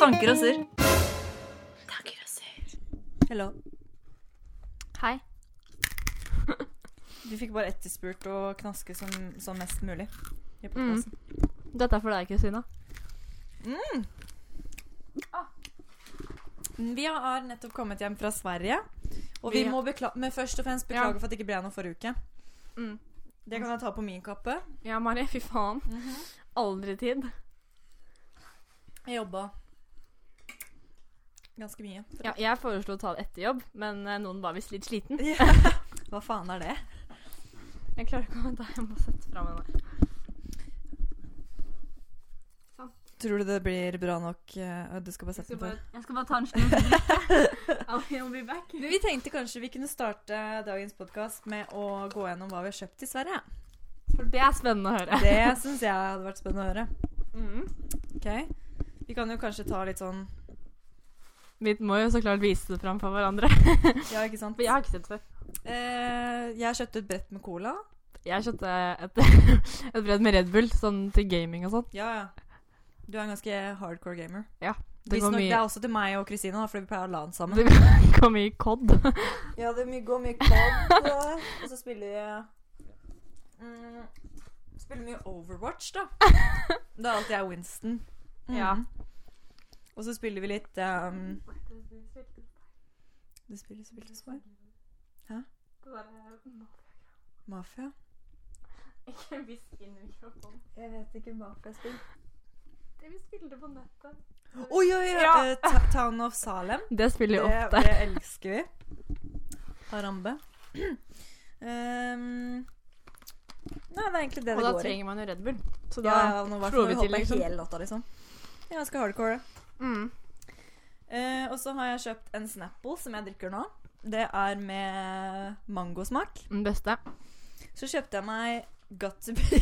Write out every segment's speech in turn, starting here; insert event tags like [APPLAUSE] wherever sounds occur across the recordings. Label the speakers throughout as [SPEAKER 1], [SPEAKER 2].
[SPEAKER 1] Tanker og surr. Tanker og surr. Hello.
[SPEAKER 2] Hei.
[SPEAKER 1] [LAUGHS] Du fikk bare etterspurt å knaske som, som mest mulig. i
[SPEAKER 2] Mm.
[SPEAKER 1] podcasten.
[SPEAKER 2] Dette er for deg, kusina.
[SPEAKER 1] Mm, Vi har nettopp kommet hjem fra Sverige. Og vi
[SPEAKER 2] Vi-
[SPEAKER 1] må bekla men først og fremst
[SPEAKER 2] Ja.
[SPEAKER 1] beklage for at det ikke ble noe forrige uke.
[SPEAKER 2] Mm.
[SPEAKER 1] Det kan jeg ta på min kappe.
[SPEAKER 2] Ja, Mari. Fy faen. Aldri tid.
[SPEAKER 1] Jeg jobba ganske mye. [LAUGHS]
[SPEAKER 2] Ja, jeg foreslo å ta det etter jobb, men eh, noen var visst litt sliten.
[SPEAKER 1] Hva faen er det?
[SPEAKER 2] Jeg klarer ikke å vente. Jeg må sette fram henne.
[SPEAKER 1] Tror du det blir bra nok eh, Du skal bare sette den på.
[SPEAKER 2] jeg skal bare ta en slurk. [LAUGHS] I'll be back.
[SPEAKER 1] Men vi tenkte kanskje vi kunne starte dagens podkast med å gå gjennom hva vi har kjøpt i Sverige.
[SPEAKER 2] For det er spennende å høre.
[SPEAKER 1] Det syns jeg hadde vært spennende å høre.
[SPEAKER 2] Mm.
[SPEAKER 1] Ok? Vi kan jo kanskje ta litt sånn
[SPEAKER 2] Vi må jo så klart vise det fram for hverandre.
[SPEAKER 1] Ja, ikke sant?
[SPEAKER 2] For jeg har ikke sett det før.
[SPEAKER 1] Eh, jeg kjøpte et brett med cola.
[SPEAKER 2] Jeg kjøpte et, [LAUGHS] et brett med Red Bull, sånn til gaming og sånn.
[SPEAKER 1] Ja, ja. Du er en ganske hardcore gamer.
[SPEAKER 2] Det
[SPEAKER 1] Visst
[SPEAKER 2] går
[SPEAKER 1] nok,
[SPEAKER 2] [LAUGHS]
[SPEAKER 1] det
[SPEAKER 2] mye,
[SPEAKER 1] er også til meg og Kristine, da, fordi vi pleier å la den sammen.
[SPEAKER 2] det går mye kodd.
[SPEAKER 1] Ja, det my- går mye COD, [LAUGHS] og så spiller jeg mm, Spiller mye Overwatch, da. Det er alltid jeg Winston. Mhm.
[SPEAKER 2] Ja.
[SPEAKER 1] Og så spiller vi litt um, Det spilles spilles for Hæ? Mafia?
[SPEAKER 2] Ikke viss inn i mikrofonen.
[SPEAKER 1] Jeg vet ikke mafiaspill.
[SPEAKER 2] Det vi spilte på nettet.
[SPEAKER 1] Å oh, ja, ja! ja.
[SPEAKER 2] Ja.
[SPEAKER 1] Eh, Ta- Town of Salem.
[SPEAKER 2] Det spiller jo
[SPEAKER 1] Det,
[SPEAKER 2] ofte.
[SPEAKER 1] det elsker vi. Harambe. um, nei, det er egentlig det
[SPEAKER 2] Og
[SPEAKER 1] det
[SPEAKER 2] da
[SPEAKER 1] går i.
[SPEAKER 2] trenger man jo Red Bull. Så da
[SPEAKER 1] Ja, ja, nå var
[SPEAKER 2] slår
[SPEAKER 1] vi
[SPEAKER 2] vi til,
[SPEAKER 1] hoppe
[SPEAKER 2] liksom.
[SPEAKER 1] hele natta, liksom. Det er ganske hardcore, det.
[SPEAKER 2] Mm.
[SPEAKER 1] Eh, og så har jeg kjøpt en Snapple som jeg drikker nå. Det er med mangosmak.
[SPEAKER 2] Den [LAUGHS] beste.
[SPEAKER 1] Så kjøpte jeg meg Got [LAUGHS] to be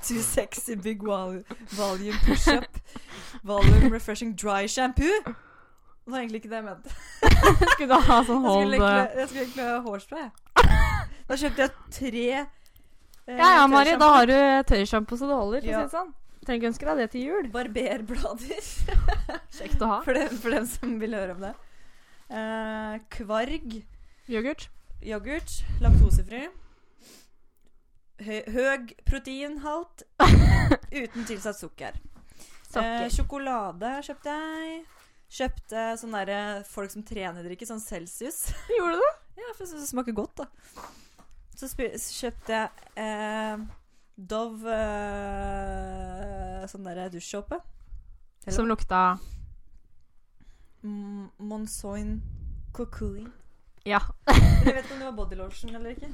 [SPEAKER 1] too sexy big vol volume push-up volume refreshing dry shampoo. Det var egentlig ikke det jeg mente.
[SPEAKER 2] Skulle du ha sånn
[SPEAKER 1] Jeg skulle
[SPEAKER 2] hold eh,
[SPEAKER 1] egentlig, jeg skulle egentlig ha hårspray. jeg. Da kjøpte jeg tre eh,
[SPEAKER 2] Ja ja, Mari. Da
[SPEAKER 1] tørrshampoo.
[SPEAKER 2] har du eh, tøysjampo så det holder. for å
[SPEAKER 1] Ja.
[SPEAKER 2] si det sånn. Trenger ikke ønske deg det til jul.
[SPEAKER 1] Barberblader.
[SPEAKER 2] Kjekt å ha.
[SPEAKER 1] For dem, for dem som vil høre om det. Eh, kvarg,
[SPEAKER 2] Yoghurt.
[SPEAKER 1] yoghurt, laktosefri. Høy, høg proteinhalt uten tilsatt sukker. Eh,
[SPEAKER 2] Sokker.
[SPEAKER 1] sjokolade kjøpte jeg. Kjøpte sånn derre folk som trener drikker, sånn Celsius. [LAUGHS]
[SPEAKER 2] Gjorde du det?
[SPEAKER 1] Ja, for jeg synes det smaker godt, da. Så spi- så kjøpte jeg eh, Dove eh, sånn derre dusjsåpe. Eller-
[SPEAKER 2] Som lukta
[SPEAKER 1] M- Monsoin Cocoon.
[SPEAKER 2] Ja.
[SPEAKER 1] Jeg vet ikke om det var bodylotion eller ikke.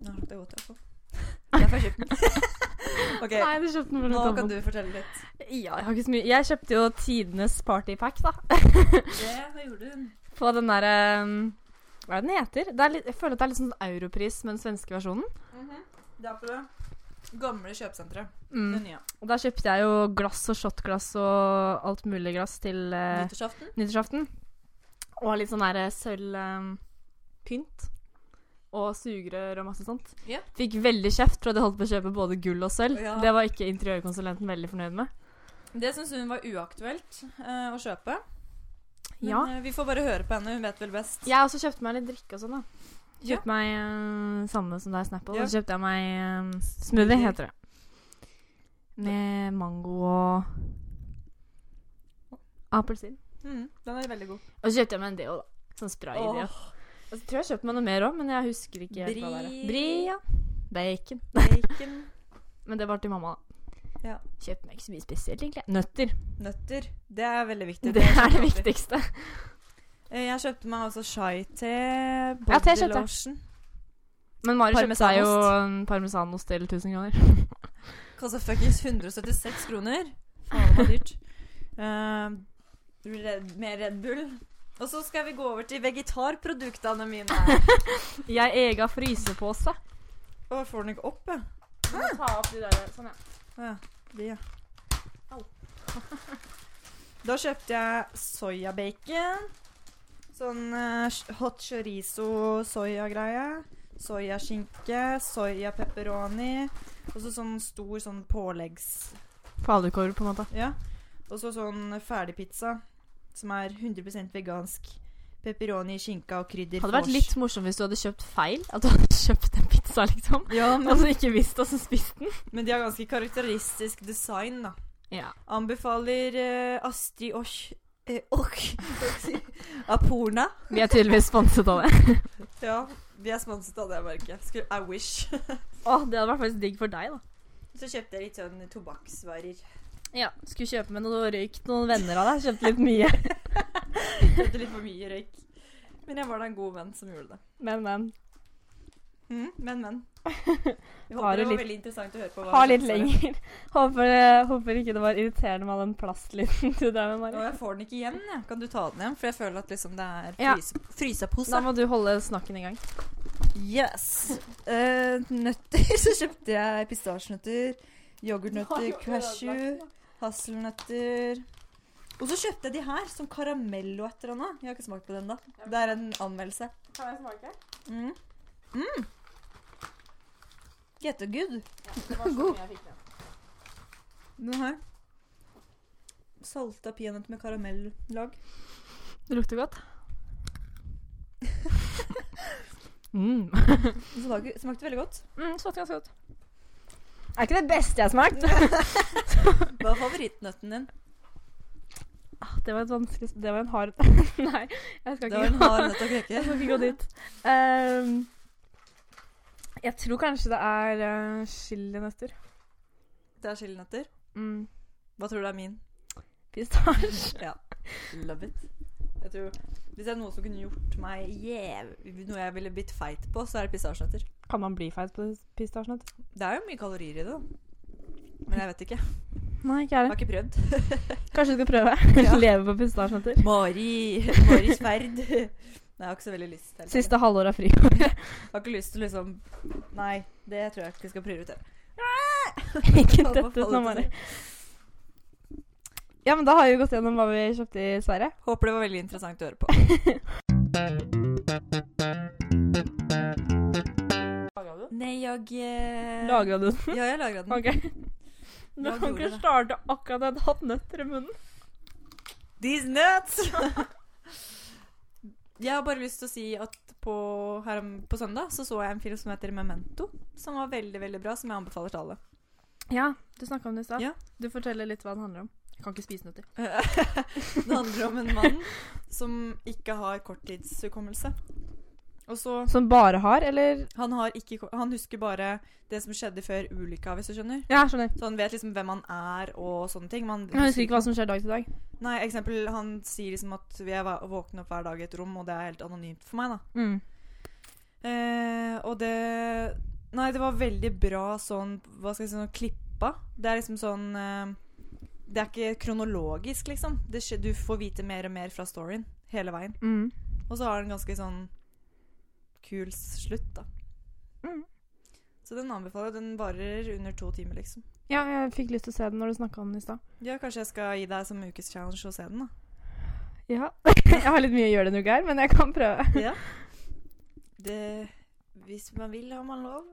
[SPEAKER 1] Nå lukter det godt, iallfall.
[SPEAKER 2] [LAUGHS]
[SPEAKER 1] Derfor har jeg kjøpt den. OK,
[SPEAKER 2] Nei, du kjøpte den for
[SPEAKER 1] nå
[SPEAKER 2] litt
[SPEAKER 1] kan
[SPEAKER 2] annet.
[SPEAKER 1] du fortelle litt.
[SPEAKER 2] [LAUGHS] Ja, jeg har ikke så mye. Jeg kjøpte jo tidenes partypack, da.
[SPEAKER 1] Det hva gjorde hun.
[SPEAKER 2] På den derre Hva er det den heter? Det er litt, jeg føler at det er litt sånn Europris med den svenske versjonen.
[SPEAKER 1] Det er på det gamle kjøpesenteret.
[SPEAKER 2] Mm.
[SPEAKER 1] Det nye.
[SPEAKER 2] Og da kjøpte jeg jo glass og shotglass og alt mulig glass til eh,
[SPEAKER 1] Nyttårsaften.
[SPEAKER 2] nyttårsaften. Og litt sånn der sølvpynt. Og sugerør og masse sånt.
[SPEAKER 1] Ja.
[SPEAKER 2] Fikk veldig kjeft for at jeg holdt på å kjøpe både gull og sølv.
[SPEAKER 1] Ja.
[SPEAKER 2] Det var ikke interiørkonsulenten veldig fornøyd med.
[SPEAKER 1] Det syns hun var uaktuelt eh, å kjøpe. Men
[SPEAKER 2] Ja.
[SPEAKER 1] eh, vi får bare høre på henne. Hun vet vel best.
[SPEAKER 2] Jeg også kjøpte meg litt drikke og sånn, da.
[SPEAKER 1] Ja.
[SPEAKER 2] Kjøpte meg eh, samme som deg, Snapple.
[SPEAKER 1] Ja.
[SPEAKER 2] Og så kjøpte jeg meg eh, smoothie, heter det. Med mango og appelsin.
[SPEAKER 1] Mm, den er veldig god.
[SPEAKER 2] Og så kjøpte jeg meg en deo, da. Sånn spray-deo.
[SPEAKER 1] Åh,
[SPEAKER 2] Og så tror jeg jeg kjøpte meg noe mer òg, men jeg husker ikke helt hva det er.
[SPEAKER 1] Brie.
[SPEAKER 2] Bri, ja. Bacon.
[SPEAKER 1] bacon,
[SPEAKER 2] Men det var til mamma, da.
[SPEAKER 1] Ja.
[SPEAKER 2] Kjøpte meg ikke så mye spesielt, egentlig. Nøtter.
[SPEAKER 1] nøtter. Det er veldig viktig.
[SPEAKER 2] [LAUGHS] Det, er det
[SPEAKER 1] kjøper jeg alltid.
[SPEAKER 2] viktigste.
[SPEAKER 1] Eh, Jeg kjøpte meg også chai-te,
[SPEAKER 2] Ja, te kjøpte jeg.
[SPEAKER 1] bodylotion.
[SPEAKER 2] Men Mari kjøpte seg jo
[SPEAKER 1] Parmesanost.
[SPEAKER 2] en parmesanost til 1000 kroner.
[SPEAKER 1] Kosta fuckings 176 kroner. Faen, det var dyrt. Eh, Red, med Red Bull. Og så skal vi gå over til vegetarproduktene mine.
[SPEAKER 2] [LAUGHS] Jeg ega frysepose.
[SPEAKER 1] Å, får den ikke opp, jeg?
[SPEAKER 2] Du må ta opp de der, sånn, ja.
[SPEAKER 1] Å ja. De, ja.
[SPEAKER 2] Au.
[SPEAKER 1] [LAUGHS] da kjøpte jeg soyabacon. Sånn eh, sh- hot chorizo-soyagreie. Soyaskinke, soyapepperoni. Og så sånn stor sånn påleggs...
[SPEAKER 2] Falukorv, på en måte.
[SPEAKER 1] Ja. Og så sånn ferdigpizza som er 100 vegansk. Pepperoni, skinka og krydder.
[SPEAKER 2] Hadde vært
[SPEAKER 1] fors.
[SPEAKER 2] litt morsomt hvis du hadde kjøpt feil. At du hadde [LAUGHS] kjøpt en pizza, [LAUGHS] liksom.
[SPEAKER 1] Ja,
[SPEAKER 2] Og
[SPEAKER 1] men,
[SPEAKER 2] så ikke visst og så spist den.
[SPEAKER 1] men de har ganske karakteristisk design, da.
[SPEAKER 2] Ja.
[SPEAKER 1] Anbefaler eh, Astrid Osh eh, [LAUGHS] Och Aporna.
[SPEAKER 2] Vi er tydeligvis sponset av det.
[SPEAKER 1] Ja, de er sponset av det merket. Skulle- I wish.
[SPEAKER 2] Å, det hadde vært faktisk digg for deg, da.
[SPEAKER 1] [LAUGHS] Så kjøpte jeg litt sånn tobakksvarer. [LAUGHS]
[SPEAKER 2] Ja, Skulle kjøpe med noe røyk til noen venner av deg. Kjøpte litt mye.
[SPEAKER 1] Kjøpte litt for mye røyk. Men jeg var da en god venn som gjorde det.
[SPEAKER 2] [LAUGHS] Men, men.
[SPEAKER 1] Mm, men, [LAUGHS] men. Jeg
[SPEAKER 2] Har du
[SPEAKER 1] håper det var
[SPEAKER 2] litt-
[SPEAKER 1] veldig interessant å høre på. hva
[SPEAKER 2] Ha
[SPEAKER 1] du
[SPEAKER 2] litt
[SPEAKER 1] synes om det.
[SPEAKER 2] lenger. [LAUGHS] Håper, eh, håper ikke det var irriterende med all den plastlyden du drev med,
[SPEAKER 1] Og
[SPEAKER 2] Mari.
[SPEAKER 1] jeg får den ikke igjen, jeg. Kan du ta den igjen? For jeg føler at liksom det er
[SPEAKER 2] Ja.
[SPEAKER 1] fryse, frysepose.
[SPEAKER 2] Da må du holde snakken [LAUGHS] i gang.
[SPEAKER 1] Yes. Eh, nøtter. [LAUGHS] Så kjøpte jeg pistasjenøtter, yoghurtnøtter, cashew, hasselnøtter. Og så kjøpte jeg de her som karamell og et eller annet. Jeg har ikke smakt på den da. Det er en anmeldelse.
[SPEAKER 2] Kan jeg smake?
[SPEAKER 1] Mm. Mm. Get a good.
[SPEAKER 2] God.
[SPEAKER 1] Den her. Salta peanøtter med karamellag.
[SPEAKER 2] Det lukter godt. [LAUGHS] mm.
[SPEAKER 1] Den smaker- smakte veldig godt.
[SPEAKER 2] mm. Smakte ganske godt. Er ikke det beste jeg har smakt? [LAUGHS]
[SPEAKER 1] Hva er favorittnøtten din?
[SPEAKER 2] Ah, Det var et vanskelig sp- Det var en hard [LAUGHS] Nei, jeg skal
[SPEAKER 1] Det
[SPEAKER 2] ikke,
[SPEAKER 1] var en
[SPEAKER 2] gå-
[SPEAKER 1] hard nøtt
[SPEAKER 2] [LAUGHS]
[SPEAKER 1] å
[SPEAKER 2] jeg
[SPEAKER 1] knekke.
[SPEAKER 2] skal ikke gå dit. Ehm, jeg tror kanskje det er uh, chilinøtter.
[SPEAKER 1] Det er chilinøtter.
[SPEAKER 2] Mm.
[SPEAKER 1] Hva tror du er min? [LAUGHS]
[SPEAKER 2] Pistasje. [LAUGHS]
[SPEAKER 1] Ja. Love it. Jeg tror, hvis det er noe som kunne gjort meg jæv... Noe jeg ville blitt feit på, så er det pistasjenøtter.
[SPEAKER 2] Kan man bli feit på pistasjenøtter?
[SPEAKER 1] Det er jo mye kalorier i det, da. Men jeg vet ikke.
[SPEAKER 2] Nei, ikke
[SPEAKER 1] Jeg
[SPEAKER 2] jeg.
[SPEAKER 1] har ikke prøvd.
[SPEAKER 2] Kanskje du skal [LAUGHS] prøve?
[SPEAKER 1] Ja.
[SPEAKER 2] Leve på [LAUGHS] pistasjenøtter?
[SPEAKER 1] Mari [LAUGHS] Mari Sverd. Nei, jeg har ikke så veldig lyst til det.
[SPEAKER 2] Siste halvår av friåret.
[SPEAKER 1] Jeg har ikke lyst til liksom Nei, det tror jeg ikke jeg skal [LAUGHS] prioritere.
[SPEAKER 2] [LAUGHS] ikke dette
[SPEAKER 1] Hva faller
[SPEAKER 2] ut nå,
[SPEAKER 1] til
[SPEAKER 2] Mari.
[SPEAKER 1] det?
[SPEAKER 2] Ja, men da har vi jo gått gjennom hva vi kjøpte i Sverige.
[SPEAKER 1] Håper det var veldig interessant å [LAUGHS] høre på. Nei, jeg eh,
[SPEAKER 2] Lagra du [LAUGHS] den?
[SPEAKER 1] Ja, jeg lagra den.
[SPEAKER 2] OK. Du
[SPEAKER 1] Ja,
[SPEAKER 2] kan
[SPEAKER 1] gjorde
[SPEAKER 2] ikke
[SPEAKER 1] det.
[SPEAKER 2] starte akkurat da jeg hadde hatt nøtter i munnen.
[SPEAKER 1] These nuts!
[SPEAKER 2] [LAUGHS]
[SPEAKER 1] jeg har bare lyst til å si at på, her om, på søndag så, så jeg en film som heter Memento, som var veldig veldig bra, som jeg
[SPEAKER 2] [LAUGHS]
[SPEAKER 1] anbefaler til alle.
[SPEAKER 2] Ja, du snakka om det i stad.
[SPEAKER 1] Ja.
[SPEAKER 2] Du forteller litt hva den handler om. Jeg kan ikke spise nøtter.
[SPEAKER 1] det handler om en mann som ikke har korttidshukommelse. Og så
[SPEAKER 2] Som bare har, eller
[SPEAKER 1] han, har ikke, ko- han husker bare det som skjedde før ulykka, hvis du skjønner.
[SPEAKER 2] Ja, jeg skjønner.
[SPEAKER 1] Så han vet liksom hvem han er og sånne ting. Men
[SPEAKER 2] Jeg husker ikke hva som skjer dag til dag.
[SPEAKER 1] Nei, eksempel, han sier liksom at jeg va- våkner opp hver dag i et rom, og det er helt anonymt for meg, da.
[SPEAKER 2] Mm.
[SPEAKER 1] Eh, og det Nei, det var veldig bra sånn Hva skal jeg si sånn klippa. Det er liksom sånn eh, Det er ikke kronologisk, liksom. Det skje, du får vite mer og mer fra storyen hele veien.
[SPEAKER 2] Mm.
[SPEAKER 1] Og så har den ganske sånn kul s- slutt, da.
[SPEAKER 2] Mm.
[SPEAKER 1] Så den anbefaler jeg. Den varer under to timer, liksom.
[SPEAKER 2] Ja, jeg fikk lyst til å se den når du snakka om den i stad.
[SPEAKER 1] Ja, kanskje jeg skal gi deg som ukeschallenge å se den,
[SPEAKER 2] [LAUGHS]
[SPEAKER 1] da.
[SPEAKER 2] Ja. [LAUGHS] jeg har litt mye å gjøre denne uka her, men jeg kan prøve.
[SPEAKER 1] Ja. Det Hvis man vil, har man lov.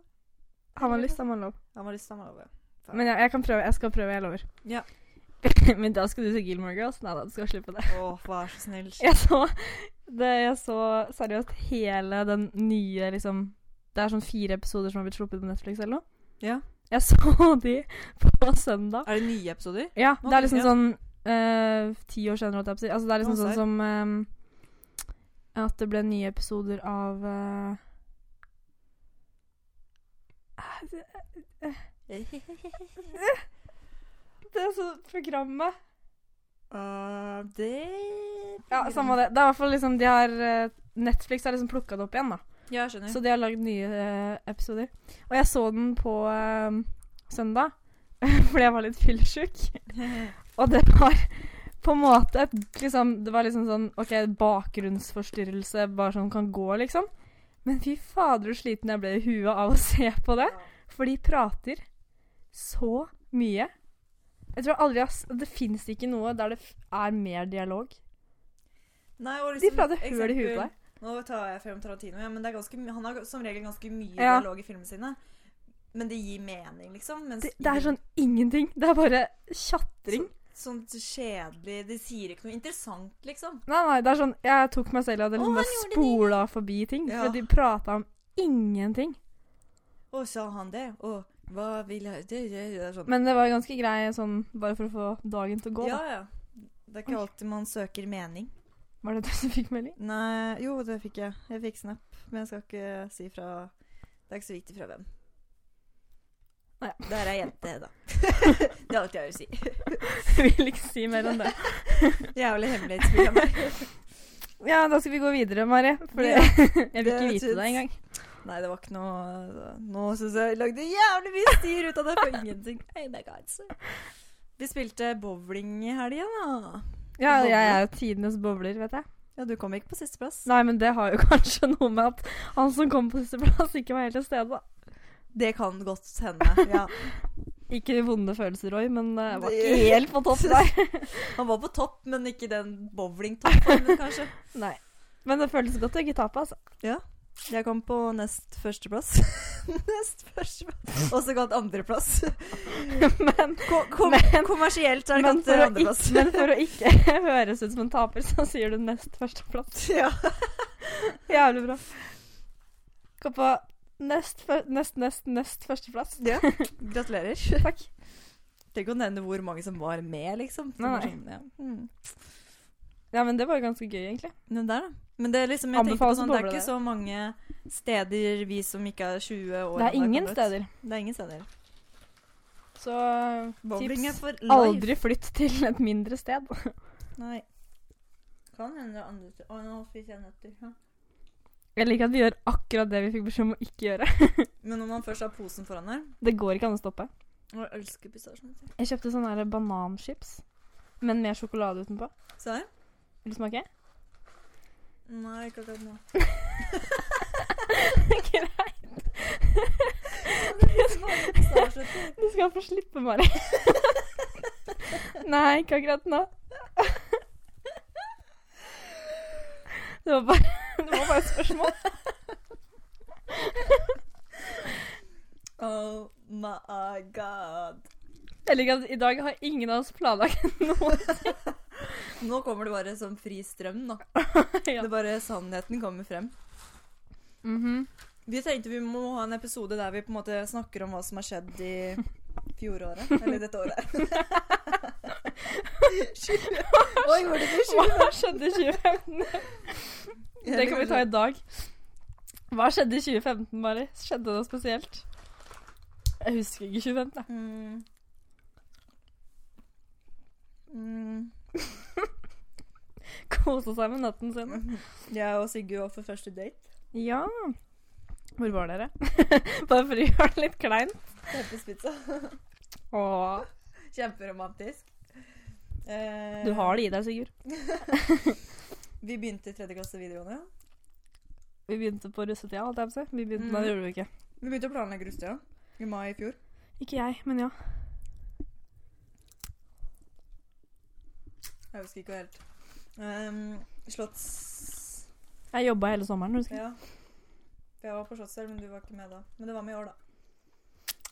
[SPEAKER 2] Har man lyst, har man lov.
[SPEAKER 1] Har man lyst, har man lov, ja.
[SPEAKER 2] Men jeg, jeg kan prøve. Jeg skal prøve, jeg lover.
[SPEAKER 1] Ja.
[SPEAKER 2] [LAUGHS] men da skal du se Gilmore Girls. Nei da, du skal slippe det. [LAUGHS]
[SPEAKER 1] Å, vær så snill.
[SPEAKER 2] Jeg så, det, jeg så seriøst hele den nye liksom Det er sånn fire episoder som har blitt sluppet på Netflix eller noe.
[SPEAKER 1] Ja.
[SPEAKER 2] Jeg så de på søndag.
[SPEAKER 1] Er det nye episoder?
[SPEAKER 2] Ja,
[SPEAKER 1] Ok,
[SPEAKER 2] det er liksom
[SPEAKER 1] ja.
[SPEAKER 2] sånn eh, ti år senere, holdt jeg på å si. Altså, det er liksom
[SPEAKER 1] Å,
[SPEAKER 2] sånn
[SPEAKER 1] serr.
[SPEAKER 2] som eh, At det ble nye episoder av [LAUGHS] eh, Det er så programmet
[SPEAKER 1] Eh, det
[SPEAKER 2] Ja, samme det. Det er i hvert fall liksom de har eh, Netflix har liksom plukka det opp igjen, da.
[SPEAKER 1] Ja, jeg [LAUGHS] skjønner.
[SPEAKER 2] Så de har lagd nye eh, episoder. Og jeg så den på eh, søndag, [LAUGHS] fordi jeg var litt fyllesyk. Og det var på en måte et liksom, Det var liksom sånn OK, bakgrunnsforstyrrelse, bare sånn kan gå, liksom. Men fy fader, så sliten jeg ble i huet av å se på det. For de prater så mye. Jeg tror aldri jeg har s- Det fins ikke noe der det f er mer dialog.
[SPEAKER 1] Nei, og
[SPEAKER 2] De
[SPEAKER 1] liksom,
[SPEAKER 2] prater høl i huet på
[SPEAKER 1] eksempel-
[SPEAKER 2] deg.
[SPEAKER 1] Nå tar jeg frem Tarantino, ja, men det er ganske, my- han har som regel ganske mye
[SPEAKER 2] Ja.
[SPEAKER 1] dialog i filmene sine. Men det gir mening, liksom. Mens
[SPEAKER 2] Det, sånn
[SPEAKER 1] i
[SPEAKER 2] det er sånn ingenting. Det er bare tjatring.
[SPEAKER 1] den- sånn kjedelig De sier ikke noe interessant, liksom.
[SPEAKER 2] Nei, nei, det er sånn Jeg tok meg selv i at jeg
[SPEAKER 1] Å,
[SPEAKER 2] liksom
[SPEAKER 1] han
[SPEAKER 2] bare
[SPEAKER 1] gjorde
[SPEAKER 2] spola forbi ting.
[SPEAKER 1] Ja.
[SPEAKER 2] For de prata om ingenting.
[SPEAKER 1] Å, sa han det? Å, hva vil jeg Det, det, det er sånn.
[SPEAKER 2] Men det var ganske grei sånn bare for å få dagen til å gå.
[SPEAKER 1] ja,
[SPEAKER 2] Da.
[SPEAKER 1] ja. Det er ikke alltid man søker mening.
[SPEAKER 2] Var det du som fikk melding?
[SPEAKER 1] Nei Jo, det fikk jeg. Jeg fikk snap, men jeg skal ikke si fra Det er ikke så viktig fra hvem.
[SPEAKER 2] Nei.
[SPEAKER 1] Der er ei jente,
[SPEAKER 2] [LAUGHS]
[SPEAKER 1] da. det er alt jeg vil si.
[SPEAKER 2] [LAUGHS] Jeg vil ikke si mer enn det.
[SPEAKER 1] Jævlig hemmelighetsprogram.
[SPEAKER 2] Ja, da skal vi gå videre, Mari. For [LAUGHS]
[SPEAKER 1] Ja.
[SPEAKER 2] jeg vil ikke
[SPEAKER 1] Det
[SPEAKER 2] vite
[SPEAKER 1] syns-
[SPEAKER 2] det engang.
[SPEAKER 1] Nei, det var ikke noe Nå syns jeg jeg lagde jævlig mye styr ut av det for ingenting. Oh my God. så. Vi spilte bowling i helga, da.
[SPEAKER 2] Ja, jeg er jo tidenes bobler, vet jeg.
[SPEAKER 1] Ja, du kom ikke på sisteplass.
[SPEAKER 2] Nei, men det har jo [LAUGHS] kanskje noe med at han som kom på sisteplass, ikke var helt til stede. da.
[SPEAKER 1] Det kan godt hende. Ja.
[SPEAKER 2] Ikke vonde følelser, Roy, men eh, jeg var
[SPEAKER 1] Det-
[SPEAKER 2] ikke helt på [LAUGHS] topp
[SPEAKER 1] [LAUGHS]
[SPEAKER 2] der.
[SPEAKER 1] Han var på topp, men ikke den bowlingtoppen, kanskje.
[SPEAKER 2] Nei. Men det føles godt å ikke tape,
[SPEAKER 1] [LAUGHS]
[SPEAKER 2] altså.
[SPEAKER 1] Jeg kom på nest førsteplass. [LAUGHS] nest førsteplass. Også kalt
[SPEAKER 2] [LAUGHS]
[SPEAKER 1] andreplass.
[SPEAKER 2] Men,
[SPEAKER 1] Ko kom
[SPEAKER 2] men,
[SPEAKER 1] kommersielt er det
[SPEAKER 2] men,
[SPEAKER 1] kalt eh,
[SPEAKER 2] for å ikke,
[SPEAKER 1] andreplass.
[SPEAKER 2] men
[SPEAKER 1] [LAUGHS]
[SPEAKER 2] for å ikke [LAUGHS] høres ut som en taper, så sier du nest førsteplass.
[SPEAKER 1] ja.
[SPEAKER 2] [LAUGHS] Jævlig bra. Gå på nest, fø- nest, nest, nest førsteplass.
[SPEAKER 1] ja. Gratulerer.
[SPEAKER 2] [LAUGHS] Takk.
[SPEAKER 1] Tenk å nevne hvor mange som var med, liksom. Det
[SPEAKER 2] Nei,
[SPEAKER 1] var
[SPEAKER 2] nei.
[SPEAKER 1] sånn, Ja. Mm.
[SPEAKER 2] Ja, men det var jo ganske gøy, egentlig.
[SPEAKER 1] Den der, da. Men det er liksom, jeg tenkte på
[SPEAKER 2] Anbefales å
[SPEAKER 1] sånn, det er
[SPEAKER 2] boble
[SPEAKER 1] ikke
[SPEAKER 2] der.
[SPEAKER 1] så mange steder vi som ikke er 20 år
[SPEAKER 2] Det
[SPEAKER 1] når
[SPEAKER 2] er ingen
[SPEAKER 1] kommet.
[SPEAKER 2] steder.
[SPEAKER 1] Det er ingen steder.
[SPEAKER 2] Så
[SPEAKER 1] Bowling er
[SPEAKER 2] tips
[SPEAKER 1] for life.
[SPEAKER 2] aldri flytt til et mindre sted.
[SPEAKER 1] Nei. Kan hende det er andre steder. Å, nå fikk jeg nøtter. Ja.
[SPEAKER 2] Jeg liker at vi gjør akkurat det vi fikk beskjed om å ikke gjøre.
[SPEAKER 1] Men når man først har posen foran her
[SPEAKER 2] Det går ikke an å stoppe.
[SPEAKER 1] Og jeg elsker pistasjenøtter.
[SPEAKER 2] Jeg kjøpte sånne her bananchips, men med sjokolade utenpå.
[SPEAKER 1] Se her.
[SPEAKER 2] Vil du smake?
[SPEAKER 1] Nei, ikke akkurat
[SPEAKER 2] [LAUGHS]
[SPEAKER 1] nå.
[SPEAKER 2] Greit. [LAUGHS]
[SPEAKER 1] [LAUGHS]
[SPEAKER 2] Du skal få slippe, [LAUGHS] Mari. Nei, ikke akkurat nå. Det var bare, det var bare et spørsmål.
[SPEAKER 1] Oh my god.
[SPEAKER 2] Jeg liker at i dag har ingen av oss planlagt noe.
[SPEAKER 1] Nå kommer det bare som fri strøm, da.
[SPEAKER 2] [LAUGHS] Ja.
[SPEAKER 1] Det er bare sannheten kommer frem.
[SPEAKER 2] Mhm.
[SPEAKER 1] Vi tenkte vi må ha en episode der vi på en måte snakker om hva som har skjedd i fjoråret. Eller dette året.
[SPEAKER 2] [LAUGHS]
[SPEAKER 1] Sju- Hva gjorde du i [LAUGHS] sju-
[SPEAKER 2] Hva [LAUGHS] skjedde i 2015? Det kan vi ta i dag. Hva skjedde i 2015, Mari? Skjedde det noe spesielt? Jeg husker ikke 2015. jeg.
[SPEAKER 1] Mm. Mm.
[SPEAKER 2] Kosa seg med natten sin.
[SPEAKER 1] Jeg og Sigurd var for første date.
[SPEAKER 2] Ja. Hvor var dere? [LAUGHS] Bare for å gjøre det litt kleint.
[SPEAKER 1] Peppespizza.
[SPEAKER 2] Åh.
[SPEAKER 1] Kjemperomantisk. Eh,
[SPEAKER 2] Du har det i deg, Sigurd.
[SPEAKER 1] Vi begynte i tredje klasse videregående.
[SPEAKER 2] Vi begynte på russetida, holdt jeg på å si. Vi begynte,
[SPEAKER 1] Mm.
[SPEAKER 2] Nei, det gjorde vi ikke.
[SPEAKER 1] Vi begynte å planlegge russetida i mai i fjor.
[SPEAKER 2] Ikke jeg, men ja.
[SPEAKER 1] Jeg husker ikke helt. Um, Slotts...
[SPEAKER 2] Jeg jobba hele sommeren, husker jeg.
[SPEAKER 1] Ja. Jeg var på Slottsfjell, men du var ikke med da. Men det var med i år, da.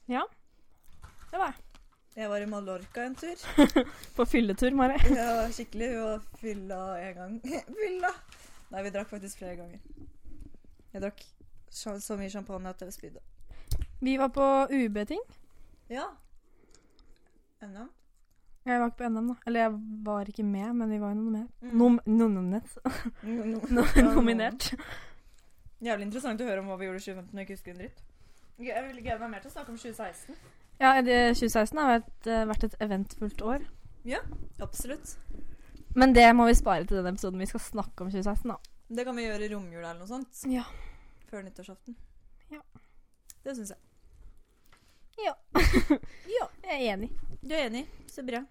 [SPEAKER 2] Det var jeg.
[SPEAKER 1] Jeg var i Mallorca en tur.
[SPEAKER 2] På fylletur, Mari.
[SPEAKER 1] Jeg var skikkelig vi var fylla en gang. fylla! Nei, vi drakk faktisk flere ganger. Jeg drakk sja- så mye champagne at jeg spydde.
[SPEAKER 2] Vi var på UB-ting.
[SPEAKER 1] Ja. Ennå?
[SPEAKER 2] Jeg var ikke på NM, da. Eller jeg var ikke med, men vi var jo nominert.
[SPEAKER 1] Mm.
[SPEAKER 2] Nom nominert. [LAUGHS]
[SPEAKER 1] No- no-
[SPEAKER 2] No
[SPEAKER 1] Ja, noen.
[SPEAKER 2] nominert.
[SPEAKER 1] Jævlig interessant å høre om hva vi gjorde i 2015 når jeg ikke husker en dritt. Jeg- Jeg vil glede meg mer til å snakke om 2016.
[SPEAKER 2] Ja, det- 2016 har vært, eh, vært et eventfullt år.
[SPEAKER 1] Absolutt.
[SPEAKER 2] Men det må vi spare til den episoden vi skal snakke om 2016, da.
[SPEAKER 1] Det kan vi gjøre i romjula eller noe sånt.
[SPEAKER 2] Ja.
[SPEAKER 1] Før nyttårsaften.
[SPEAKER 2] Ja.
[SPEAKER 1] Det syns jeg.
[SPEAKER 2] Jeg er enig.
[SPEAKER 1] Du er enig? Så bra.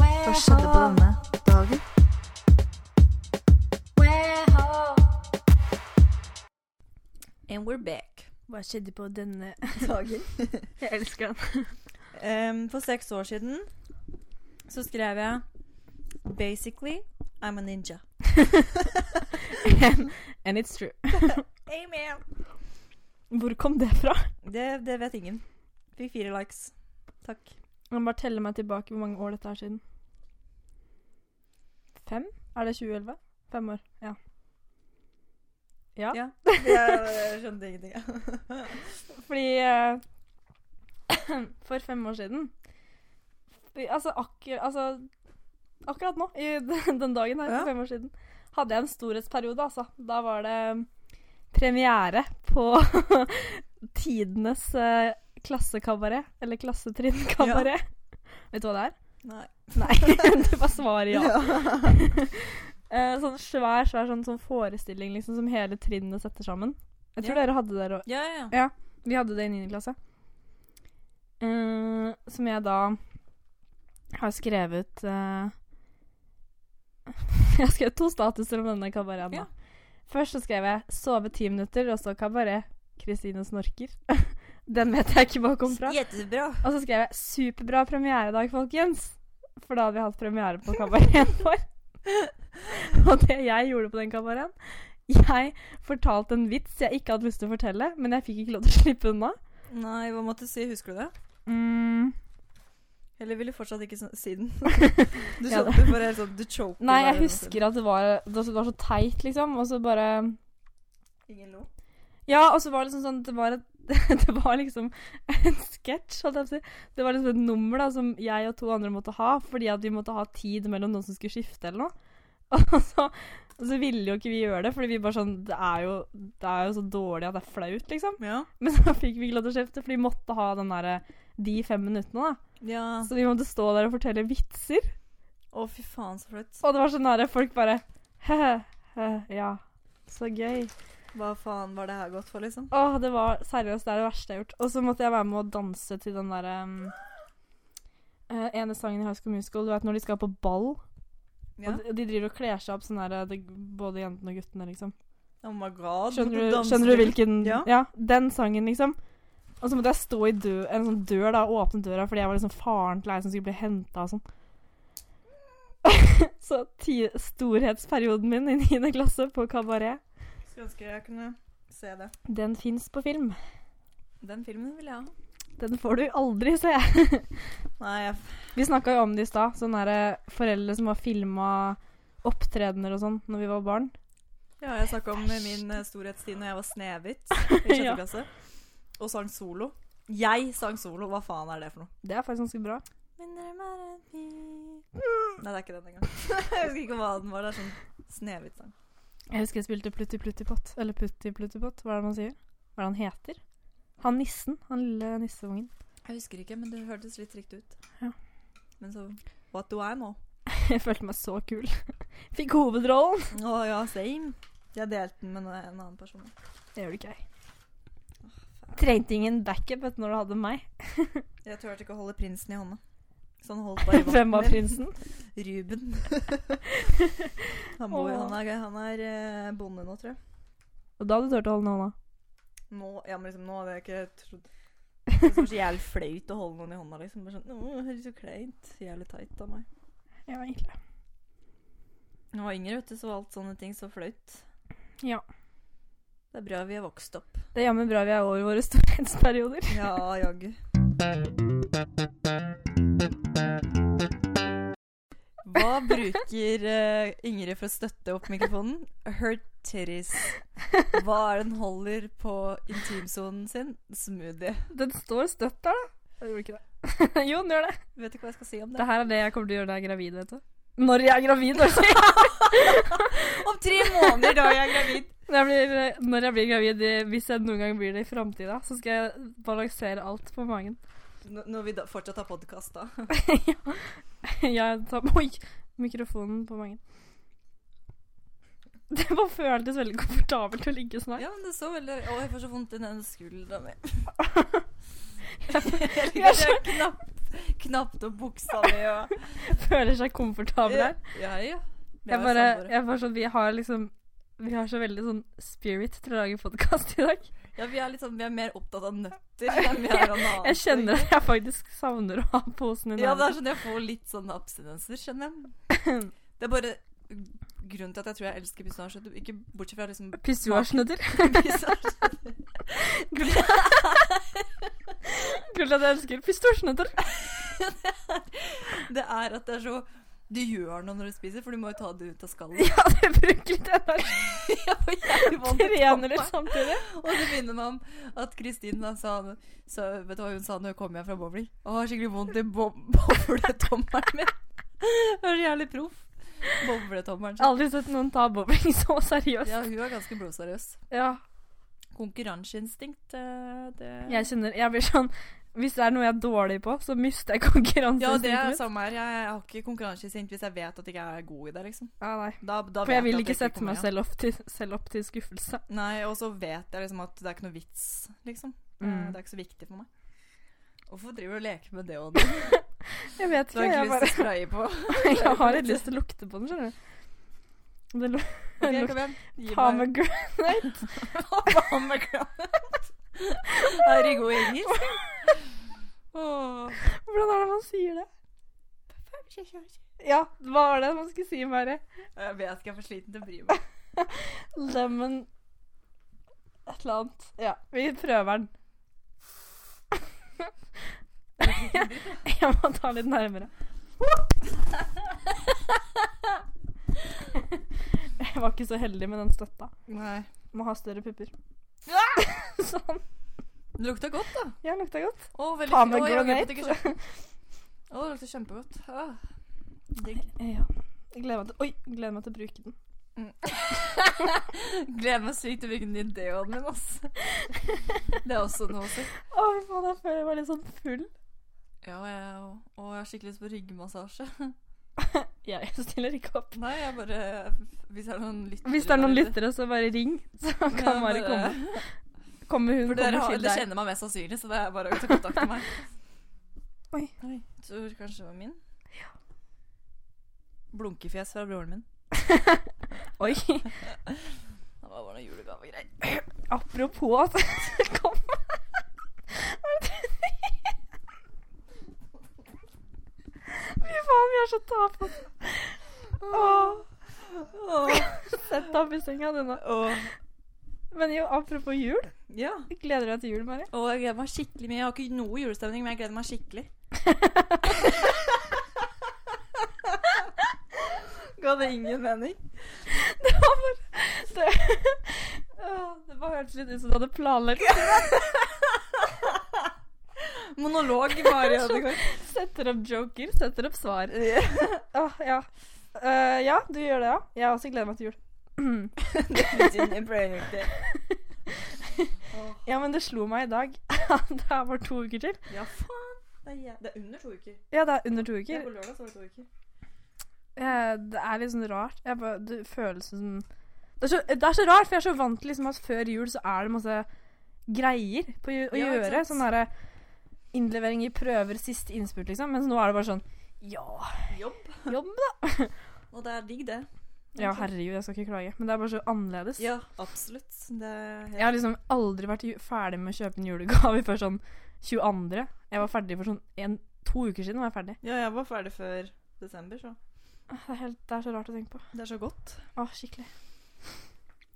[SPEAKER 3] Hva skjedde på denne dagen?
[SPEAKER 1] And we're back.
[SPEAKER 2] Hva skjedde på denne [LAUGHS]
[SPEAKER 1] Dagen.
[SPEAKER 2] Jeg elsker
[SPEAKER 3] [LAUGHS]
[SPEAKER 2] den.
[SPEAKER 1] [LAUGHS] Em, for seks år siden så skrev jeg Basically, I'm a ninja.
[SPEAKER 2] And it's true.
[SPEAKER 1] Amen.
[SPEAKER 2] Hvor kom det fra?
[SPEAKER 1] Det, det vet ingen. Fikk fire likes. Takk.
[SPEAKER 2] Jeg må bare telle meg tilbake hvor mange år dette er siden. Fem? Er det 2011? Fem år. Ja. Ja.
[SPEAKER 1] Ja. Jeg skjønte ingenting.
[SPEAKER 2] Fordi eh, [COUGHS] For fem år siden vi- altså, akkur, altså akkurat nå, i d- [LAUGHS] den dagen her,
[SPEAKER 1] Ja.
[SPEAKER 2] for fem år siden, hadde jeg en storhetsperiode, altså. Da var det premiere på [LAUGHS] tidenes eh, klassekabaret. Eller klassetrinnkabaret. [LAUGHS] Vet du hva det er?
[SPEAKER 1] [LAUGHS] Nei.
[SPEAKER 2] Nei, [LAUGHS] du bare svarer ja. [LAUGHS] Eh, sånn svær, svær sånn, sånn forestilling liksom, som hele trinnet setter sammen. Jeg tror
[SPEAKER 1] Ja.
[SPEAKER 2] dere hadde det der òg.
[SPEAKER 1] [LAUGHS] Ja, ja, ja.
[SPEAKER 2] Vi hadde det i 9. klasse. Eh, som jeg da har skrevet eh, [LAUGHS] Jeg har skrevet to statuser om denne kabareten.
[SPEAKER 1] Ja.
[SPEAKER 2] da. Først så skrev jeg 'sove ti minutter', og så kabaret. Kristine snorker. [LAUGHS] Den vet jeg ikke hvor kom fra.
[SPEAKER 1] Jättebra.
[SPEAKER 2] Og så skrev jeg 'superbra premieredag, folkens'. For da hadde vi hatt premiere på kabareten vår. [LAUGHS] Og det jeg gjorde på den kabareten Jeg fortalte en vits jeg ikke hadde lyst til å fortelle, men jeg fikk ikke lov til å slippe unna.
[SPEAKER 1] Nei, hva måtte du si? Husker du det?
[SPEAKER 2] Mm,
[SPEAKER 1] Eller ville fortsatt ikke sånn- si
[SPEAKER 2] [LAUGHS]
[SPEAKER 1] den? Du
[SPEAKER 2] Ja,
[SPEAKER 1] ja,
[SPEAKER 2] det-
[SPEAKER 1] du bare helt sånn, du choker.
[SPEAKER 2] nei, jeg husker at det var, det var så teit, liksom. Og så bare
[SPEAKER 1] Ingen lo.
[SPEAKER 2] Ja, og så var det liksom sånn Det var, et, [LAUGHS] det var liksom en sketsj, holdt jeg på å si. Det var liksom et nummer da, som jeg og to andre måtte ha, fordi at vi måtte ha tid mellom noen som skulle skifte eller noe. [LAUGHS] Og så, og så ville jo ikke vi gjøre det, fordi vi bare sånn det er, jo, det er jo så dårlig at det er flaut, liksom. [LAUGHS]
[SPEAKER 1] Ja.
[SPEAKER 2] Men så fikk vi ikke lov til å skifte, for vi måtte ha den derre de fem minuttene, da.
[SPEAKER 1] ja.
[SPEAKER 2] Så vi måtte stå der og fortelle vitser.
[SPEAKER 1] Å, fy faen, så flaut.
[SPEAKER 2] Og det var sånn nære folk bare He-he, ja. Så gøy.
[SPEAKER 1] Hva faen var det her godt for, liksom?
[SPEAKER 2] Åh, det var seriøst det er det verste jeg har gjort. Og så måtte jeg være med og danse til den derre um, eh, ene sangen i High School Musical. Du vet når de skal på ball,
[SPEAKER 1] Ja.
[SPEAKER 2] og de, de driver og kler seg opp sånn der eh, det, både jentene og guttene, liksom.
[SPEAKER 1] Oh my god. [LAUGHS]
[SPEAKER 2] Skjønner du,
[SPEAKER 1] danser
[SPEAKER 2] skjønner du hvilken ja.
[SPEAKER 1] Ja.
[SPEAKER 2] den sangen, liksom. Og så måtte jeg stå i dø, en sånn dør, da, og åpne døra, fordi jeg var liksom faren til ei som skulle bli henta og sånn. [LAUGHS] så ti storhetsperioden min i 9. klasse på kabaret,
[SPEAKER 1] Skulle ønske jeg kunne se det.
[SPEAKER 2] den fins på film.
[SPEAKER 1] Den filmen vil jeg ha.
[SPEAKER 2] Den får du aldri se.
[SPEAKER 1] Nei, jeg
[SPEAKER 2] Vi snakka jo om det i stad. Sånne der, eh, foreldre som har filma opptredener og sånn når vi var barn.
[SPEAKER 1] Ja, jeg snakka om eh, min eh, storhetstid når jeg var
[SPEAKER 2] [LAUGHS]
[SPEAKER 1] Snehvit i sjette
[SPEAKER 2] Ja.
[SPEAKER 1] klasse. Og sang solo. Jeg sang solo. Hva faen er det for noe?
[SPEAKER 2] Det er faktisk ganske bra.
[SPEAKER 1] Min drøm er en by [LAUGHS] Nei, det er ikke den engang. [LAUGHS] jeg husker ikke hva den var. Det er sånn Snehvit-sang.
[SPEAKER 2] Jeg husker jeg spilte Plutti Plutti Pott. Eller Putti Plutti Pott, hva er det man sier? Hva er det han heter? Han nissen. Han lille nisseungen.
[SPEAKER 1] Jeg husker ikke, men det hørtes litt riktig ut.
[SPEAKER 2] Ja.
[SPEAKER 1] Men så What do I know?
[SPEAKER 2] [LAUGHS] Jeg følte meg så kul. [LAUGHS] Fikk hovedrollen.
[SPEAKER 1] [LAUGHS] Å ja, same. Jeg delte den med en annen person.
[SPEAKER 2] Det gjør du ikke, jeg. Trengte ingen backup vet du, når du hadde meg.
[SPEAKER 1] Jeg turte ikke å holde prinsen i hånda. Så han
[SPEAKER 2] [LAUGHS]
[SPEAKER 1] holdt [LAUGHS] bare i
[SPEAKER 2] Hvem var
[SPEAKER 1] min.
[SPEAKER 2] prinsen?
[SPEAKER 1] Ruben. [LAUGHS] han, bor,
[SPEAKER 2] Åh.
[SPEAKER 1] han er, han er eh, bonde nå, tror jeg.
[SPEAKER 2] Og da hadde du turt å holde hånda.
[SPEAKER 1] Nå, ja, men liksom, nå hadde jeg ikke [LAUGHS] trodd Det var så jævlig flaut å holde noen i hånda. liksom. Bare sånn, Åh, det er så kleint. Så Jævlig teit av meg.
[SPEAKER 2] Ja, egentlig.
[SPEAKER 1] Når jeg var yngre, vet du, så var alt sånne ting så flaut.
[SPEAKER 2] Ja.
[SPEAKER 1] Det er bra vi har vokst opp.
[SPEAKER 2] Det er jammen bra vi er over våre [LAUGHS] storhetsperioder.
[SPEAKER 1] Ja, jaggu. Hva bruker eh, Ingrid for å støtte opp mikrofonen? Her titties. Hva er det hun holder på intimsonen sin? Smoothie.
[SPEAKER 2] Den står støtt der, da. Jeg gjorde ikke det. jo, den gjør det.
[SPEAKER 1] Vet ikke hva jeg skal si om
[SPEAKER 2] Det
[SPEAKER 1] det.
[SPEAKER 2] her er det jeg kommer til å gjøre når jeg er gravid, vet du. Når jeg er gravid, altså.
[SPEAKER 1] Om tre måneder, da er jeg gravid.
[SPEAKER 2] [LAUGHS] Når jeg blir, når jeg blir gravid, i- hvis jeg noen gang blir det i framtida, så skal jeg balansere alt på magen. [LAUGHS]
[SPEAKER 1] N- Når vi da fortsatt har podkast, da.
[SPEAKER 2] Jeg tar Oi! Mikrofonen på magen. Det bare føltes veldig komfortabelt å ligge sånn her.
[SPEAKER 1] Ja, men det så veldig Å, jeg får så vondt i den skuldra
[SPEAKER 2] [LAUGHS]
[SPEAKER 1] mi.
[SPEAKER 2] jeg er
[SPEAKER 1] Jeg knapt, knapt opp buksa mi og
[SPEAKER 2] Føler seg komfortabel her.
[SPEAKER 1] Ja, ja.
[SPEAKER 2] Jeg bare, jeg bare sånn, Vi har liksom Vi har så veldig sånn spirit til å lage podkast i dag.
[SPEAKER 1] Ja, vi er litt sånn Vi er mer opptatt av
[SPEAKER 2] [LAUGHS]
[SPEAKER 1] nøtter enn vi er av noe annet.
[SPEAKER 2] Jeg kjenner at jeg faktisk savner å ha posen i
[SPEAKER 1] Ja,
[SPEAKER 2] nærheten. [LAUGHS]
[SPEAKER 1] det er sånn jeg får litt sånn abstinenser, skjønner jeg. Det er bare grunnen til at jeg tror jeg elsker pistasjenøtter. Ikke bortsett fra liksom
[SPEAKER 2] Pistasjenøtter.
[SPEAKER 1] pistasje.
[SPEAKER 2] Kult at jeg elsker pistasjenøtter.
[SPEAKER 1] [LAUGHS] Det er at det er så Du gjør noe når du spiser, for du må jo ta det ut av
[SPEAKER 2] [LAUGHS] [LAUGHS]
[SPEAKER 1] skallet.
[SPEAKER 2] Ja, det bruker litt energi.
[SPEAKER 1] Jeg får jævlig vondt i
[SPEAKER 2] Trener
[SPEAKER 1] toppen.
[SPEAKER 2] litt samtidig.
[SPEAKER 1] [LAUGHS] Og det minner meg om at Kristin da sa, sa Vet du hva hun sa når hun kom hjem fra bowling? Å, har skikkelig vondt i bo- [LAUGHS] bobletommelen min. [LAUGHS] Hun er så jævlig proff. Bobletommelen sin.
[SPEAKER 2] Aldri sett noen ta bowling så seriøst.
[SPEAKER 1] Ja, hun er ganske blodseriøs.
[SPEAKER 2] Ja.
[SPEAKER 1] Konkurranseinstinkt, eh, det
[SPEAKER 2] Jeg kjenner Jeg blir sånn Hvis det er noe jeg er dårlig på, så mister jeg [LAUGHS] konkurranseinstinktet
[SPEAKER 1] Ja, det er
[SPEAKER 2] mitt.
[SPEAKER 1] samme her. Jeg har ikke konkurranseinstinkt hvis jeg vet at jeg ikke er god i det, liksom.
[SPEAKER 2] Ja, nei.
[SPEAKER 1] Da, da
[SPEAKER 2] For
[SPEAKER 1] vet
[SPEAKER 2] jeg vil
[SPEAKER 1] at
[SPEAKER 2] ikke sette
[SPEAKER 1] kommer
[SPEAKER 2] meg
[SPEAKER 1] igjen.
[SPEAKER 2] selv opp til, selv opp til skuffelse.
[SPEAKER 1] Nei, og så vet jeg liksom at det er ikke noe vits, liksom. Eh,
[SPEAKER 2] Mm.
[SPEAKER 1] Det er ikke så viktig for meg. Hvorfor driver du og leker med det
[SPEAKER 2] [LAUGHS]
[SPEAKER 1] og det?
[SPEAKER 2] Jeg vet
[SPEAKER 1] Du
[SPEAKER 2] ikke,
[SPEAKER 1] har ikke
[SPEAKER 2] jeg,
[SPEAKER 1] lyst til å spraye på.
[SPEAKER 2] bare, [LAUGHS] jeg har litt lyst til å lukte på den, skjønner du. Det lu-
[SPEAKER 1] Ok,
[SPEAKER 2] Lukt-
[SPEAKER 1] kom igjen.
[SPEAKER 2] [LAUGHS]
[SPEAKER 1] Gi meg
[SPEAKER 2] pomegranate.
[SPEAKER 1] pomegranate. Er det god engelsk? Åh.
[SPEAKER 2] Hvordan er det man sier det? Ja, hva var det man skulle si, bare?
[SPEAKER 1] Jeg vet ikke, jeg er for sliten til å bry meg.
[SPEAKER 2] Lemon Et eller annet. Ja, vi prøver den. [LAUGHS] Jeg må ta litt nærmere. Jeg var ikke så heldig med den støtta.
[SPEAKER 1] Nei.
[SPEAKER 2] Må ha større pupper. [LAUGHS] Sånn.
[SPEAKER 1] Det lukta godt, da.
[SPEAKER 2] Ja, lukta godt.
[SPEAKER 1] Å, veldig
[SPEAKER 2] Ta
[SPEAKER 1] fint.
[SPEAKER 2] med
[SPEAKER 1] Å, jeg angrer på at jeg
[SPEAKER 2] granate.
[SPEAKER 1] ikke kjøpte den. Å, det lukter kjempegodt. Åh. Digg.
[SPEAKER 2] Ja. Jeg gleder meg til Oi, jeg gleder meg til å bruke den.
[SPEAKER 1] Gleder meg sykt til å bruke den i deoen min, ass. Det er også noe å si.
[SPEAKER 2] Å, fy faen, jeg føler jeg var litt sånn full.
[SPEAKER 1] Ja, jeg, og jeg har skikkelig lyst på ryggmassasje.
[SPEAKER 2] Ja, jeg stiller ikke opp.
[SPEAKER 1] Nei, jeg bare Hvis det er noen lyttere
[SPEAKER 2] Hvis det er noen
[SPEAKER 1] der ute-
[SPEAKER 2] lyttere, så bare ring. Så
[SPEAKER 1] Ja,
[SPEAKER 2] kan Mari
[SPEAKER 1] bare-
[SPEAKER 2] komme. Kommer hun
[SPEAKER 1] For dere,
[SPEAKER 2] kommer
[SPEAKER 1] har,
[SPEAKER 2] til
[SPEAKER 1] dere
[SPEAKER 2] deg.
[SPEAKER 1] kjenner meg mest sannsynlig, så det er bare å ta kontakt med meg. [LAUGHS]
[SPEAKER 2] Oi.
[SPEAKER 1] Tror kanskje det var min. Blunkefjes fra broren min.
[SPEAKER 2] Oi.
[SPEAKER 1] Det var bare noen julegavegreier.
[SPEAKER 2] Apropos at [LAUGHS] Kom. Fy faen, vi er så tafatte. Åh. Sett deg opp i senga, du nå. Men jo, apropos jul.
[SPEAKER 1] Ja.
[SPEAKER 2] Gleder du deg til jul, Mari?
[SPEAKER 1] Og jeg gleder meg skikkelig mye. Jeg har ikke noe julestemning, men jeg gleder meg skikkelig. [LAUGHS] Ga det ingen mening?
[SPEAKER 2] Det var bare Det, Åh, det bare hørtes litt ut som du hadde planlagt.
[SPEAKER 1] Monolog, Mari Ødegaard. [LAUGHS]
[SPEAKER 2] Setter opp joker, setter opp svar. Åh, ja. Eh, ja, du gjør det, ja. Jeg også gleder meg til jul. [CLEARS THROAT] ja, men det slo meg i dag. [LAUGHS] det er bare to uker til.
[SPEAKER 1] Ja, faen. Det er, jæ- det er under to uker.
[SPEAKER 2] Ja, det er under to
[SPEAKER 1] Det er
[SPEAKER 2] uker.
[SPEAKER 1] på lørdag, så var det to uker.
[SPEAKER 2] Eh, det er litt sånn rart. Jeg bare, det føles som det er, så, det er så rart, for jeg er så vant til liksom, at før jul så er det masse greier på, ju- å
[SPEAKER 1] Ja, ikke
[SPEAKER 2] gjøre.
[SPEAKER 1] sant?
[SPEAKER 2] Sånn derre innlevering i prøver, siste innspurt, liksom. Mens nå er det bare sånn Ja.
[SPEAKER 1] Jobb.
[SPEAKER 2] Jobb,
[SPEAKER 1] da. Og det er digg, det.
[SPEAKER 2] Ja, herregud, jeg skal ikke klage. Men det er bare så annerledes.
[SPEAKER 1] Ja, absolutt. Det er
[SPEAKER 2] Jeg har liksom aldri vært ju- ferdig med å kjøpe en julegave før sånn 22. Jeg var ferdig for sånn en, to uker siden. var jeg ferdig.
[SPEAKER 1] Ja, jeg var ferdig før desember, så
[SPEAKER 2] Åh, Ah, Det er, helt, det er så rart å tenke på.
[SPEAKER 1] det er så godt.
[SPEAKER 2] Åh, Ah, skikkelig.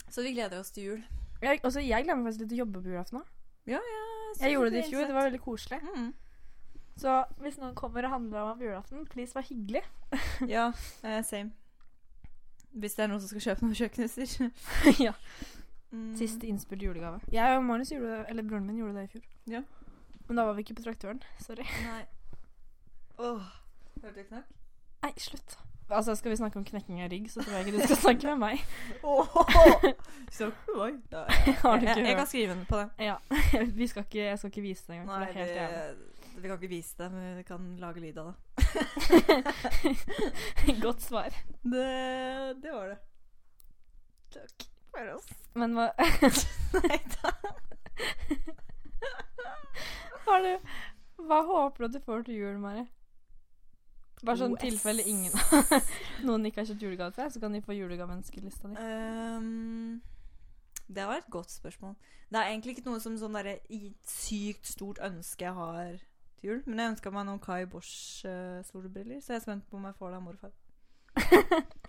[SPEAKER 1] Så vi gleder oss til jul.
[SPEAKER 2] Jeg, også, jeg glemmer faktisk litt å jobbe på julaften. også. Jeg gjorde det i fjor. Det var veldig koselig.
[SPEAKER 1] Mm.
[SPEAKER 2] Så hvis noen kommer og handler om julaften, please, vær hyggelig.
[SPEAKER 1] Ja, eh, same. Hvis det er noen som skal kjøpe noen kjøkkenutstyr.
[SPEAKER 2] [LAUGHS] ja.
[SPEAKER 1] Mm.
[SPEAKER 2] Siste innspilt julegave. Jeg og Marius gjorde det, eller broren min gjorde det i fjor.
[SPEAKER 1] Ja.
[SPEAKER 2] Men da var vi ikke på traktøren. Sorry.
[SPEAKER 1] Nei. Åh, hørte jeg [LAUGHS] knakk?
[SPEAKER 2] Nei, slutt. Altså, skal vi snakke om knekking av rygg, så tror jeg ikke du skal snakke med meg.
[SPEAKER 1] Så [LAUGHS] oi. Da,
[SPEAKER 2] Har du
[SPEAKER 1] jeg,
[SPEAKER 2] ikke
[SPEAKER 1] jeg kan
[SPEAKER 2] hørt?
[SPEAKER 1] skrive den på det.
[SPEAKER 2] [LAUGHS] Ja. [LAUGHS] vi skal ikke, jeg skal ikke vise det engang. for
[SPEAKER 1] Nei,
[SPEAKER 2] det er helt jævlig.
[SPEAKER 1] det, vi kan ikke vise det, men vi kan lage lyd av det.
[SPEAKER 2] [LAUGHS] Godt svar.
[SPEAKER 1] Det, det var det. Takk for oss.
[SPEAKER 2] Men hva [LAUGHS]
[SPEAKER 1] Nei da.
[SPEAKER 2] har du Hva håper du at du får til jul, Mari? Bare sånn
[SPEAKER 1] OS.
[SPEAKER 2] tilfelle [LAUGHS] ingen noen ikke har kjøpt julegave til deg, så kan de få julegaveønskelista di.
[SPEAKER 1] Ehm, det var et godt spørsmål. Det er egentlig ikke noe som sånn derre i- sykt stort ønske jeg har til jul. Men jeg ønska meg noen Kai Bosch-solbriller, så jeg er spent på om jeg får det av morfar.
[SPEAKER 2] [LAUGHS]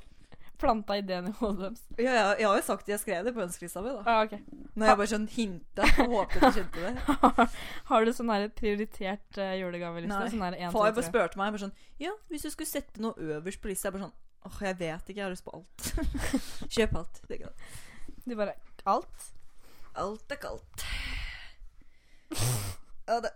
[SPEAKER 2] planta ideen i hodet deres.
[SPEAKER 1] Ja, ja, jeg har jo sagt det. Jeg skrev det på ønskelista mi. da.
[SPEAKER 2] Ah, ok. [LAUGHS]
[SPEAKER 1] Når jeg bare sånn hinta og håpet du kjente det.
[SPEAKER 2] Har du sånn her prioritert eh, julegaveliste?
[SPEAKER 1] Nei.
[SPEAKER 2] Sånn her [LAUGHS] en,
[SPEAKER 1] Far
[SPEAKER 2] to,
[SPEAKER 1] bare
[SPEAKER 2] tre.
[SPEAKER 1] spurte meg bare sånn Ja, hvis du skulle sette noe øverst på lista Jeg bare sånn Åh, jeg vet ikke. Jeg har lyst på alt. [LAUGHS] Kjøp alt. tenker jeg.
[SPEAKER 2] Du
[SPEAKER 1] [LAUGHS]
[SPEAKER 2] bare Alt?
[SPEAKER 1] Alt er kaldt. Ja, det.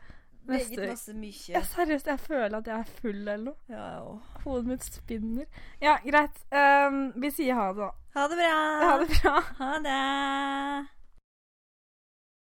[SPEAKER 2] Neste
[SPEAKER 1] Meget
[SPEAKER 2] uke.
[SPEAKER 1] masse
[SPEAKER 2] Ja,
[SPEAKER 1] mykje.
[SPEAKER 2] seriøst, jeg føler at jeg er full eller noe.
[SPEAKER 1] Ja, ja.
[SPEAKER 2] Hodet mitt spinner. Ja, greit. Ehm, vi sier ha det, da.
[SPEAKER 1] Ha det bra.
[SPEAKER 2] Ha det bra.
[SPEAKER 1] Ha det.